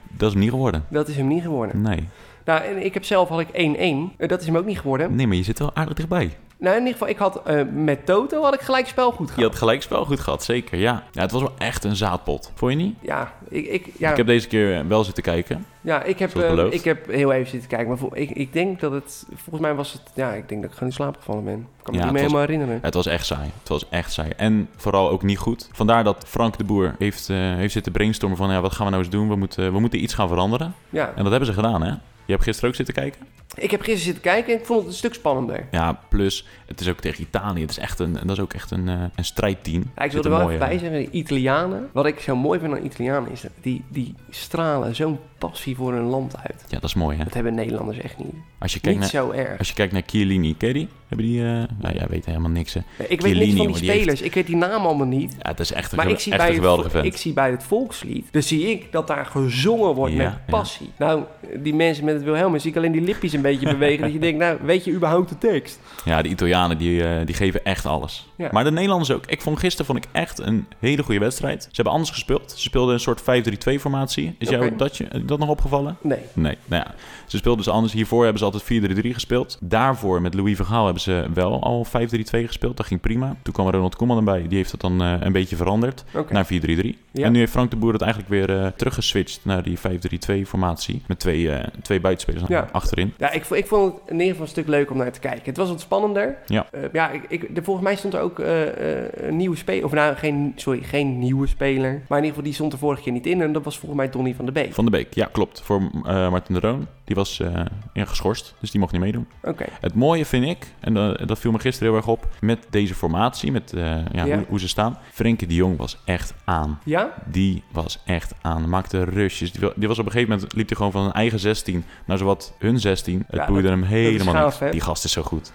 A: Dat is hem niet geworden.
B: Dat is hem niet geworden.
A: Nee.
B: Nou, en ik heb zelf had ik 1-1. Eh, dat is hem ook niet geworden.
A: Nee, maar je zit wel aardig dichtbij.
B: Nou, in ieder geval, ik had eh, met Toto had ik gelijk spel goed
A: Je
B: gehad.
A: had gelijkspel goed gehad, zeker. Ja. ja, het was wel echt een zaadpot. Vond je niet?
B: Ja, ik, ik, ja,
A: Ik heb deze keer eh, wel zitten kijken.
B: ja, ik, heb,
A: zoals
B: eh,
A: beloofd.
B: ik heb heel even zitten kijken. Maar vol- ik, ik denk dat het... Volgens mij was het... Ja, ik denk dat ik gewoon in slaap gevallen ben. Ik kan me
A: Ja,
B: niet meer
A: het was-
B: helemaal herinneren.
A: Het was echt saai. Het was echt saai. En vooral ook niet goed. Vandaar dat Frank de Boer heeft, eh, heeft zitten brainstormen van... Ja, wat gaan we nou eens doen? We moeten, we moeten iets gaan veranderen.
B: Ja.
A: En dat hebben ze gedaan, hè? Je hebt gisteren ook zitten kijken?
B: Ik heb gisteren zitten kijken en ik vond het een stuk spannender.
A: Ja, plus het is ook tegen Italië. Het is echt een, dat is ook echt een, eh, een strijdteam.
B: Ja, ik wil
A: Zitten
B: er wel
A: mooie-
B: even bij zeggen, de Italianen. Wat ik zo mooi vind aan Italianen is dat die, die stralen zo'n passie voor hun land uit.
A: Ja, dat is mooi, hè?
B: Dat hebben Nederlanders echt niet.
A: Als je kijkt,
B: Niet
A: naar,
B: zo erg.
A: als je kijkt naar Chiellini, ken je die? Hebben die... eh Nou, jij weet helemaal niks, hè?
B: Ik weet niks van
A: jongen,
B: die
A: die heeft-
B: spelers. Ik weet die namen allemaal niet.
A: Ja, het is echt een,
B: Maar
A: gewe-
B: ik zie,
A: echt
B: bij
A: een geweldige
B: het, vo-
A: vent.
B: ik zie bij het volkslied, dus zie ik dat daar gezongen wordt
A: Ja,
B: met passie. Nou, die mensen met het Wilhelmus, zie ik alleen die lipjes een beetje bewegen. dat je denkt, nou, weet je überhaupt de tekst?
A: Ja, de Italianen, die, eh, die geven echt alles.
B: Ja.
A: Maar de Nederlanders ook. Ik vond gisteren vond ik echt een hele goede wedstrijd. Ze hebben anders gespeeld. Ze speelden een soort 5-3-2-formatie. Is jou
B: Oké.
A: dat, je, eh, dat nog opgevallen?
B: Nee.
A: Nee, nou ja. Ze speelden dus anders. Hiervoor hebben ze altijd 4-3-3 gespeeld. Daarvoor met Louis Vergaal hebben ze wel al 5-3-2 gespeeld. Dat ging prima. Toen kwam Ronald Koeman erbij. Die heeft dat dan eh, een beetje veranderd
B: Oké.
A: naar 4-3-3.
B: Ja.
A: Nou, En nu heeft Frank de Boer het eigenlijk weer eh, teruggeswitcht naar die 5-3-2 formatie. Met twee, eh, twee buitenspelers
B: Ja.
A: achterin.
B: Ja, ik, vo- ik vond het in ieder geval een stuk leuk om naar te kijken. Het was wat spannender.
A: Ja.
B: Eh, ja ik, ik, de- volgens mij stond er ook eh, eh, een nieuwe speler. Of nou, geen, sorry, geen nieuwe speler. Maar in ieder geval, die stond er vorige keer niet in. En dat was volgens mij Donny van de Beek.
A: Van de Beek, ja klopt. Voor eh, Martin de Roon. Die was eh, ja, geschorst, dus die mocht niet meedoen.
B: Oké.
A: Het mooie vind ik, en eh, dat viel me gisteren heel erg op, met deze formatie, met eh, ja,
B: Ja.
A: Hoe, hoe ze staan. Frenkie de Jong was echt aan.
B: Ja?
A: Die was echt aan. Maakte rushes. Die, wa- die was op een gegeven moment liep hij gewoon van zijn eigen 16 naar zowat hun 16. Het
B: Ja,
A: boeide hem helemaal
B: gaaf,
A: niks.
B: hè?
A: Die gast is zo goed.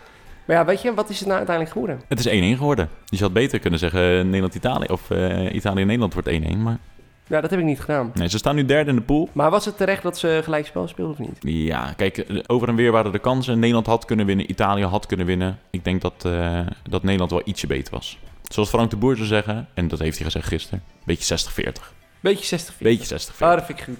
B: Maar ja, weet je, wat is het nou uiteindelijk geworden?
A: Het is 1-1 geworden. Dus je had beter kunnen zeggen eh, Nederland-Italië of eh, Italië-Nederland wordt 1-1. Maar
B: Nou, dat heb ik niet gedaan.
A: nee, ze staan nu derde in de pool.
B: Maar was het terecht dat ze gelijk spel speelden of niet?
A: Ja, kijk, eh, over en weer waren de kansen. Nederland had kunnen winnen, Italië had kunnen winnen. Ik denk dat, eh, dat Nederland wel ietsje beter was. Zoals Frank de Boer zou zeggen, en dat heeft hij gezegd gisteren, een beetje 60-40.
B: Beetje 60-40.
A: Beetje 60
B: Ah, dat vind ik goed.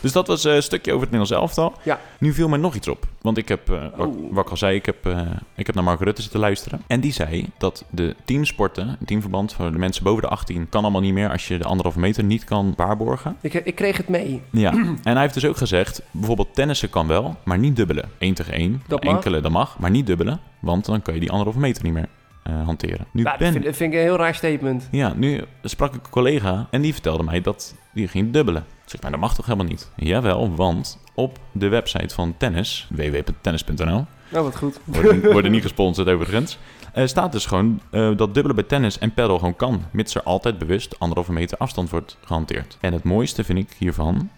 A: Dus dat was eh, een stukje over het Nederlands elftal.
B: Ja.
A: Nu viel mij nog iets op. Want ik heb, eh, wat,
B: Oh.
A: wat ik al zei, ik heb, eh, ik heb naar Mark Rutte zitten luisteren. En die zei dat de teamsporten, het teamverband voor de mensen boven de 18, kan allemaal niet meer als je de anderhalve meter niet kan waarborgen.
B: Ik, ik kreeg het mee.
A: Ja. [CLEARS THROAT] en hij heeft dus ook gezegd, bijvoorbeeld tennissen kan wel, maar niet dubbelen. 1 tegen 1,
B: Dat mag.
A: enkele, dat mag, maar niet dubbelen. Want dan kan je die anderhalve meter niet meer eh, hanteren. Nu
B: Nou, dat,
A: ben...
B: vind, dat vind ik een heel raar statement.
A: Ja, nu sprak ik een collega en die vertelde mij dat die ging dubbelen. Ik Zeg maar, dat mag toch helemaal niet? Jawel, want op de website van tennis, www.tennis.nl,
B: Nou, wat goed.
A: worden, worden niet gesponsord overigens, eh, staat dus gewoon eh, dat dubbelen bij tennis en paddle gewoon kan, mits er altijd bewust anderhalve meter afstand wordt gehanteerd. En het mooiste vind ik hiervan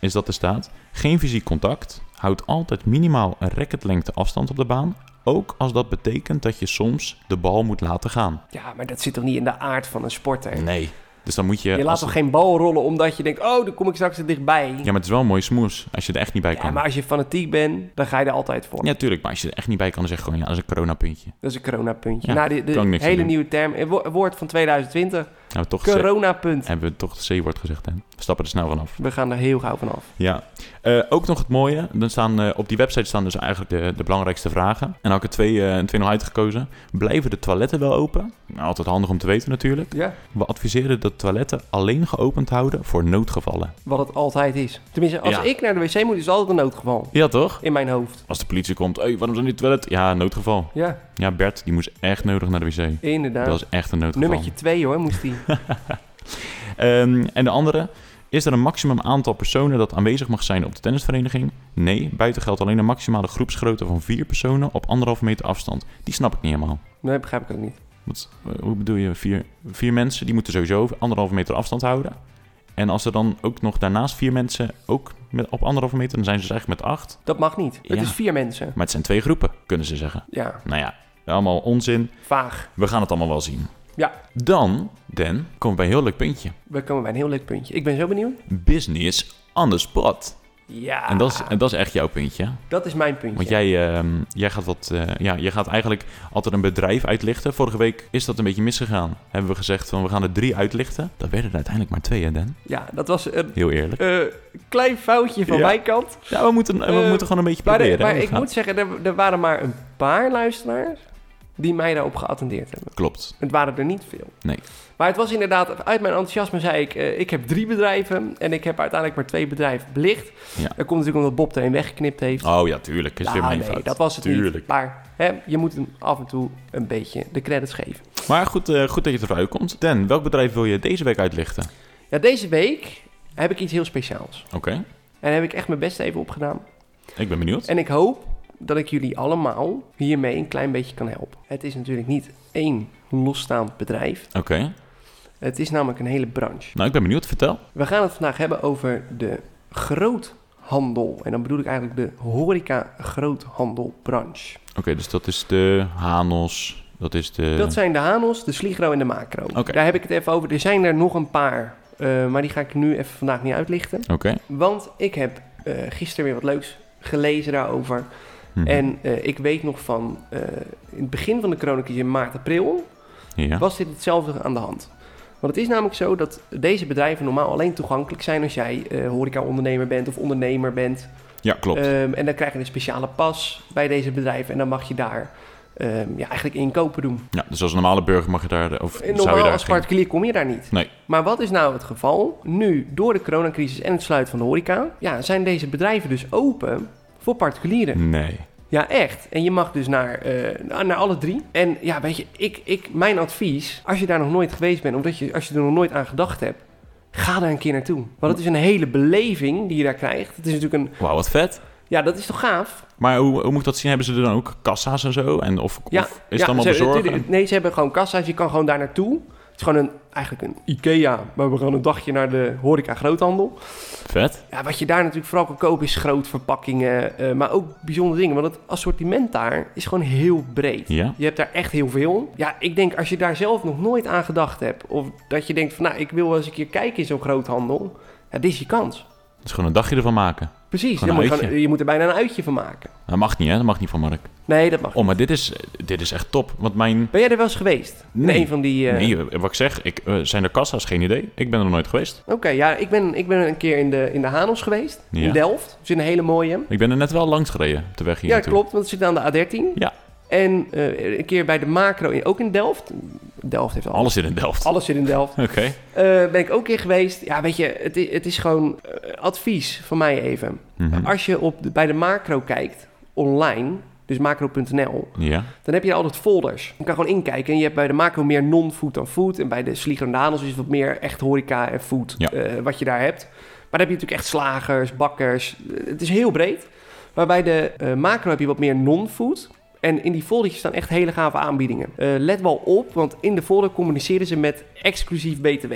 A: is dat er staat, geen fysiek contact, houd altijd minimaal een racketlengte afstand op de baan, ook als dat betekent dat je soms de bal moet laten gaan.
B: Ja, maar dat zit toch niet in de aard van een sporter?
A: Nee. Dus dan moet je...
B: je laat
A: als-
B: toch geen bal rollen omdat je denkt, oh, daar kom ik straks er dichtbij.
A: Ja, maar het is wel een mooie smoes als je er echt niet bij
B: Ja,
A: kan.
B: maar als je fanatiek bent, dan ga je er altijd voor.
A: Ja, tuurlijk, maar als je er echt niet bij kan, dan zeg je gewoon, ja, dat is een coronapuntje.
B: Dat is een coronapuntje.
A: Ja,
B: nou, de,
A: kan ik niks aan
B: hele
A: doen.
B: nieuwe term, een wo- woord van 2020,
A: Hebben we toch, gezegd-
B: coronapunt.
A: hebben we toch het C-woord gezegd, hè? We stappen er snel vanaf.
B: We gaan er heel gauw vanaf.
A: Ja. Eh, ook nog het mooie, dan staan, eh, op die website staan dus eigenlijk de, de belangrijkste vragen. En dan had ik er twee, eh, twee nog uitgekozen. Blijven de toiletten wel open? Nou, altijd handig om te weten natuurlijk.
B: Ja.
A: We adviseren dat toiletten alleen geopend houden voor noodgevallen.
B: Wat het altijd is. Tenminste, als
A: Ja.
B: ik naar de wc moet, is het altijd een noodgeval.
A: Ja, toch?
B: In mijn hoofd.
A: Als de politie komt, hé, waarom zijn die toilet? Ja, noodgeval.
B: Ja,
A: Ja, Bert, die moest echt nodig naar de wc.
B: inderdaad.
A: Dat is echt een noodgeval.
B: Nummertje 2 hoor,
A: [LAUGHS]
B: moest die.
A: Ehm, en de andere, is er een maximum aantal personen dat aanwezig mag zijn op de tennisvereniging? Nee, buiten geldt alleen een maximale groepsgrootte van vier personen op anderhalve meter afstand. Die snap ik niet helemaal.
B: Nee, begrijp ik ook niet.
A: Wat, eh, hoe bedoel je, vier, vier mensen, die moeten sowieso anderhalve meter afstand houden. En als er dan ook nog daarnaast vier mensen ook met, op anderhalve meter, dan zijn ze dus eigenlijk met acht.
B: Dat mag niet. Het
A: Ja.
B: is vier mensen.
A: Maar het zijn twee groepen, kunnen ze zeggen.
B: Ja,
A: Nou ja, allemaal onzin.
B: vaag.
A: We gaan het allemaal wel zien.
B: Ja.
A: Dan, Dan, komen we bij een heel leuk puntje.
B: We komen bij een heel leuk puntje. Ik ben zo benieuwd.
A: Business on the spot.
B: Ja,
A: En dat, is, en dat is echt jouw puntje. hè?
B: dat is mijn puntje.
A: Want jij, ehm, jij, gaat wat, eh, ja, jij gaat eigenlijk altijd een bedrijf uitlichten. Vorige week is dat een beetje misgegaan. Hebben we gezegd van we gaan er drie uitlichten. Dat werden er uiteindelijk maar twee, hè, Dan?
B: Ja, dat was een
A: Heel eerlijk.
B: eh, klein foutje van
A: Ja.
B: mijn kant.
A: Ja, we moeten, we
B: Eh,
A: moeten gewoon een beetje
B: Maar,
A: proberen.
B: de- maar
A: hè, hoe
B: ik
A: het
B: moet
A: gaat.
B: zeggen, er, er waren maar een paar luisteraars die mij daarop geattendeerd hebben.
A: Klopt.
B: Het waren er niet veel.
A: Nee.
B: Maar het was inderdaad, uit mijn enthousiasme zei ik, eh, ik heb drie bedrijven en ik heb uiteindelijk maar twee bedrijven belicht.
A: Ja.
B: Dat komt natuurlijk omdat Bob er een weggeknipt heeft.
A: Oh ja, tuurlijk. Is weer
B: Ah,
A: mijn
B: nee,
A: fout.
B: dat was het niet.
A: Tuurlijk.
B: Maar hè, je moet hem af en toe een beetje de credits geven.
A: Maar goed, eh, goed dat je eruit komt. Dan, welk bedrijf wil je deze week uitlichten?
B: Ja, deze week heb ik iets heel speciaals.
A: Oké,
B: En daar heb ik echt mijn best even op gedaan.
A: ik ben benieuwd.
B: En ik hoop dat ik jullie allemaal hiermee een klein beetje kan helpen. Het is natuurlijk niet één losstaand bedrijf.
A: Oké,
B: Het is namelijk een hele branche.
A: nou ik ben benieuwd. Vertel.
B: We gaan het vandaag hebben over de groothandel. En dan bedoel ik eigenlijk de horeca groothandelbranche.
A: Oké, dus dat is de Hanos. Dat is de...
B: Dat zijn de Hanos, de Sligro en de Macro.
A: Oké.
B: Daar heb ik het even over. Er zijn er nog een paar, eh, maar die ga ik nu even vandaag niet uitlichten.
A: Oké.
B: Want ik heb eh, gisteren weer wat leuks gelezen daarover.
A: Mhm.
B: En eh, ik weet nog van eh, in het begin van de coronacrisis in maart, april,
A: Ja.
B: was dit hetzelfde aan de hand. Want het is namelijk zo dat deze bedrijven normaal alleen toegankelijk zijn als jij eh, horeca-ondernemer bent of ondernemer bent.
A: ja, klopt.
B: Ehm, en dan krijg je een speciale pas bij deze bedrijven en dan mag je daar ehm, ja, eigenlijk inkopen doen.
A: Ja, dus als een normale burger mag je daar... Of
B: En
A: zou je
B: normaal
A: daar
B: als
A: geen-
B: particulier kom je daar niet.
A: Nee.
B: Maar wat is nou het geval? Nu, door de coronacrisis en het sluiten van de horeca... Ja, zijn deze bedrijven dus open voor particulieren.
A: Nee.
B: Ja, echt. En je mag dus naar, eh, na- naar alle drie. En ja, weet je, ik, ik, mijn advies... als je daar nog nooit geweest bent... omdat je, als je er nog nooit aan gedacht hebt... ga daar een keer naartoe. Want het is een hele beleving die je daar krijgt. Het is natuurlijk een...
A: Wauw, wat vet.
B: Ja, dat is toch gaaf?
A: Maar hoe, hoe moet ik dat zien? Hebben ze er dan ook kassa's en zo? En of,
B: Ja,
A: of is
B: ja,
A: het allemaal
B: ze-
A: bezorgen?
B: tuurlijk, Nee, ze hebben gewoon kassa's. Je kan gewoon daar naartoe. Het is gewoon een, eigenlijk een IKEA. Maar we gaan een dagje naar de horeca groothandel.
A: Vet.
B: Ja, wat je daar natuurlijk vooral kan kopen is grootverpakkingen. eh maar ook bijzondere dingen. Want het assortiment daar is gewoon heel breed.
A: Ja.
B: Je hebt daar echt heel veel. Ja, ik denk als je daar zelf nog nooit aan gedacht hebt. Of dat je denkt van nou, ik wil wel eens een keer kijken in zo'n groothandel. Ja, dit is je kans.
A: Dat is gewoon een dagje ervan maken.
B: Precies,
A: Gewoon
B: je,
A: een
B: moet gewoon-
A: uitje.
B: je moet er bijna een uitje van maken.
A: Dat mag niet, hè? Dat mag niet van Mark.
B: Nee, dat mag
A: Oh, maar dit is, dit is echt top. Want mijn...
B: Ben jij er wel eens geweest? In
A: Nee.
B: een van die... eh,
A: Nee, wat ik zeg, ik, eh, zijn er kassa's? Geen idee. Ik ben er nog nooit geweest.
B: Oké, ja, ik ben, ik ben een keer in de, in de Hanels geweest.
A: Ja.
B: In Delft. Dat is een hele mooie.
A: Ik ben er net wel langs gereden op de weg hier
B: Ja,
A: naartoe.
B: klopt, want het zit aan de A13.
A: Ja.
B: En eh, een keer bij de Macro, in- ook in Delft. Delft heeft alles.
A: Alles zit in Delft.
B: Alles zit in Delft.
A: Oké.
B: Eh, ben ik ook een keer geweest. Ja, weet je, het, i- het is gewoon eh, advies van mij even.
A: Mhm.
B: Als je op de- bij de Macro kijkt, online, dus macro.nl,
A: Ja.
B: dan heb je altijd folders. Je kan gewoon inkijken. En je hebt bij de macro meer non-food dan food. En bij de Sligo en Danels is het wat meer echt horeca en food
A: Ja.
B: eh, wat je daar hebt. Maar dan heb je natuurlijk echt slagers, bakkers. Eh, Het is heel breed. Maar bij de eh, macro heb je wat meer non-food. En in die foldertjes staan echt hele gave aanbiedingen. Eh, let wel op, want in de folder communiceren ze met exclusief BTW.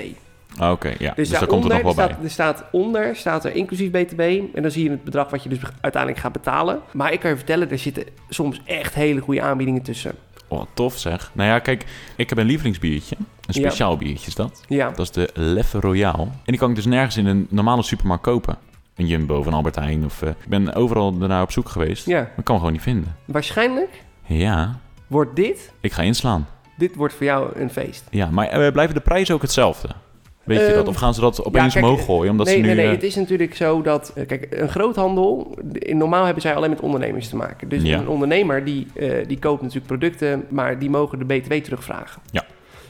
A: Ah, Oké, ja. Dus, daar komt
B: daaronder,
A: het nog wel
B: er
A: bij.
B: staat, er staat onder, staat er inclusief BTW. En dan zie je het bedrag wat je dus uiteindelijk gaat betalen. Maar ik kan je vertellen, er zitten soms echt hele goede aanbiedingen tussen.
A: Oh, wat tof zeg. Nou ja, kijk, ik heb een lievelingsbiertje. Een
B: Ja.
A: speciaal biertje is dat.
B: Ja.
A: Dat is de Leffe Royale. En die kan ik dus nergens in een normale supermarkt kopen. Een Jumbo of een Albert Heijn. Of, eh, ik ben overal daarna op zoek geweest.
B: Ja,
A: Maar ik kan hem gewoon niet vinden.
B: waarschijnlijk
A: Ja,
B: wordt dit,
A: ik ga inslaan.
B: dit wordt voor jou een feest.
A: Ja, maar eh, blijven de prijzen ook hetzelfde? Weet je
B: Ehm,
A: dat? Of gaan ze dat opeens
B: kijk,
A: omhoog gooien? Omdat
B: nee,
A: ze nu...
B: nee, nee,
A: eh,
B: het is natuurlijk zo dat, eh, kijk, een groothandel, in- normaal hebben zij alleen met ondernemers te maken. Dus
A: Ja.
B: een ondernemer die, eh, die koopt natuurlijk producten, maar die mogen de BTW terugvragen.
A: Ja.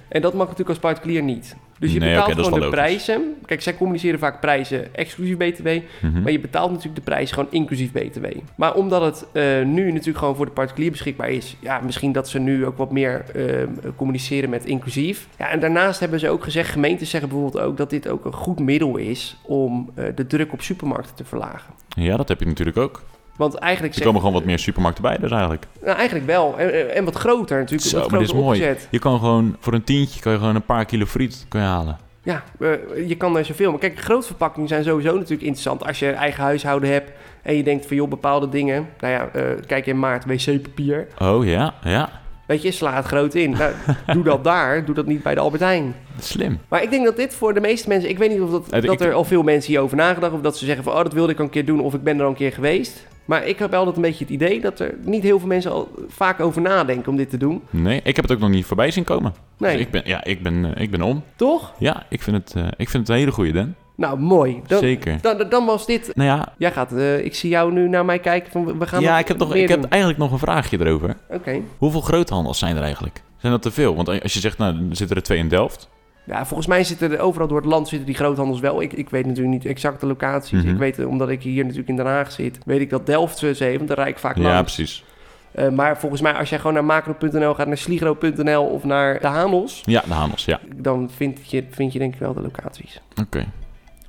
B: En dat mag natuurlijk als particulier niet. Dus je
A: Nee,
B: betaalt
A: oké, dat is
B: gewoon de
A: wel logisch.
B: prijzen. Kijk, zij communiceren vaak prijzen exclusief BTW.
A: mhm.
B: Maar je betaalt natuurlijk de prijs gewoon inclusief BTW. Maar omdat het eh, nu natuurlijk gewoon voor de particulier beschikbaar is, ja, misschien dat ze nu ook wat meer eh, communiceren met inclusief. Ja, en daarnaast hebben ze ook gezegd, gemeentes zeggen bijvoorbeeld ook dat dit ook een goed middel is om eh, de druk op supermarkten te verlagen.
A: Ja, dat heb je natuurlijk ook.
B: Want eigenlijk
A: Er
B: zegt,
A: komen gewoon wat meer supermarkten bij dus eigenlijk.
B: nou, eigenlijk wel. En, en- en wat groter natuurlijk.
A: Zo,
B: wat
A: maar dit is
B: groter
A: mooi.
B: opgezet.
A: Je kan gewoon voor een tientje kan je gewoon een paar kilo friet kan je halen.
B: Ja, eh, je kan er zoveel. Maar kijk, grootverpakkingen zijn sowieso natuurlijk interessant. Als je een eigen huishouden hebt en je denkt van joh, bepaalde dingen. Nou ja, eh, kijk in maart wc-papier.
A: Oh ja, ja.
B: Weet je, sla het groot in. Nou, doe dat
A: [LAUGHS]
B: daar, doe dat niet bij de Albert Heijn.
A: Slim.
B: Maar ik denk dat dit voor de meeste mensen... Ik weet niet of dat,
A: Eh, ik-
B: dat er al veel mensen hierover nagedacht... of dat ze zeggen van, oh, dat wilde ik al een keer doen... of ik ben er al een keer geweest. Maar ik heb altijd een beetje het idee... dat er niet heel veel mensen al vaak over nadenken om dit te doen.
A: Nee, ik heb het ook nog niet voorbij zien komen.
B: Nee,
A: Dus ik ben, ja, ik ben, eh, ik ben om.
B: toch?
A: Ja, ik vind het, eh, ik vind het een hele goede, Den.
B: Nou, mooi. Dan,
A: Zeker.
B: dan, dan was dit...
A: Nou ja,
B: Jij gaat, eh, ik zie jou nu naar mij kijken van, we- we gaan
A: ja
B: nog
A: ik, heb nog,
B: meer
A: ik heb
B: doen.
A: eigenlijk nog een vraagje erover.
B: Oké.
A: Hoeveel groothandels zijn er eigenlijk? Zijn dat te veel? Want als je zegt, nou, er zitten er twee in Delft.
B: Ja, volgens mij zitten er overal door het land zitten die groothandels wel. Ik, ik weet natuurlijk niet exact de locaties.
A: Mhm.
B: Ik weet, eh, omdat ik hier natuurlijk in Den Haag zit, weet ik dat Delft ze heeft, want daar rijd ik vaak
A: ja,
B: langs.
A: precies.
B: Eh, maar volgens mij, als jij gewoon naar macro.nl gaat, naar sligro.nl of naar de Hanels,
A: Ja, de Hanels, ja.
B: dan vind je, vind je denk ik wel de locaties.
A: Oké.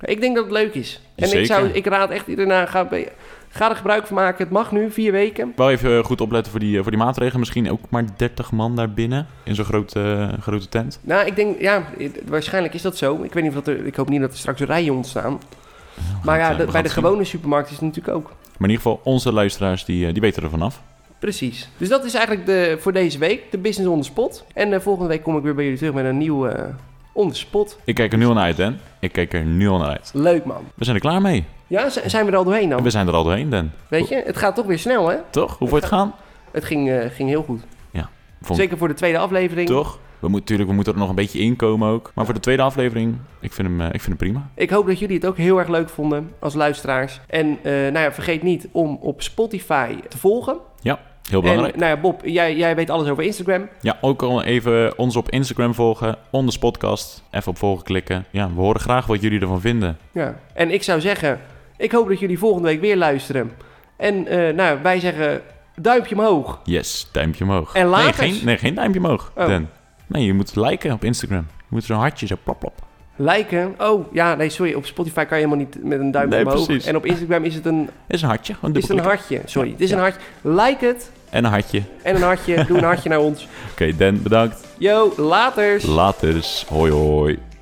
B: Ik denk dat het leuk is. En
A: Zeker.
B: ik, zou, ik raad echt iedereen aan, ga, bij- ga er gebruik van maken. Het mag nu, vier weken.
A: Wel even eh, goed opletten voor die, eh, voor die maatregelen. Misschien ook maar 30 man daar binnen in zo'n grote, eh, grote tent.
B: Nou, ik denk, ja, het- waarschijnlijk is dat zo. Ik weet niet of dat er, ik hoop niet dat er straks rijen ontstaan. Maar ja,
A: het, eh,
B: dat-
A: we gaan
B: bij de
A: het zien.
B: gewone supermarkt is het natuurlijk ook.
A: Maar in ieder geval, onze luisteraars, die, eh, die weten er vanaf.
B: Precies. Dus dat is eigenlijk de, voor deze week, de business on the spot. En eh, volgende week kom ik weer bij jullie terug met een nieuw eh on the spot.
A: Ik kijk er nu al naar uit, Den. Ik kijk er nu al naar uit.
B: Leuk man.
A: We zijn er klaar mee.
B: Ja, z- zijn we er al doorheen
A: We
B: dan?
A: zijn er al doorheen, Den.
B: Weet je, het gaat toch weer snel hè?
A: Toch? Hoe voor het gaan?
B: Het ging, eh, ging heel goed.
A: Ja, vond-
B: Zeker voor de tweede aflevering.
A: Toch? We moeten, tuurlijk, we moeten er nog een beetje inkomen ook. Maar voor de tweede aflevering, ik vind hem, eh, ik vind hem prima.
B: Ik hoop dat jullie het ook heel erg leuk vonden als luisteraars. En eh, nou ja, vergeet niet om op Spotify te volgen.
A: Heel belangrijk.
B: En nou ja, Bob, jij, jij weet alles over Instagram.
A: Ja, ook al even ons op Instagram volgen, Onders Podcast. Even op volgen klikken. Ja, we horen graag wat jullie ervan vinden.
B: Ja. En ik zou zeggen, ik hoop dat jullie volgende week weer luisteren. En eh, nou, wij zeggen duimpje omhoog.
A: Yes, duimpje omhoog.
B: En
A: nee,
B: lagers?
A: geen, nee, geen duimpje omhoog,
B: Oh.
A: Den. Nee, je moet liken op Instagram. Je moet zo'n hartje, zo plop plop.
B: Liken. Oh, ja, nee, sorry. Op Spotify kan je helemaal niet met een duimpje
A: Nee,
B: omhoog.
A: precies.
B: En op Instagram is het een,
A: is een hartje, gewoon
B: is het een
A: dubbelklikken.
B: hartje. Sorry, het is
A: Ja.
B: een hartje. Like het
A: En een hartje.
B: en een hartje. Doe een hartje naar ons.
A: Oké, Den, bedankt.
B: Yo, laters.
A: Later. dus. Hoi hoi.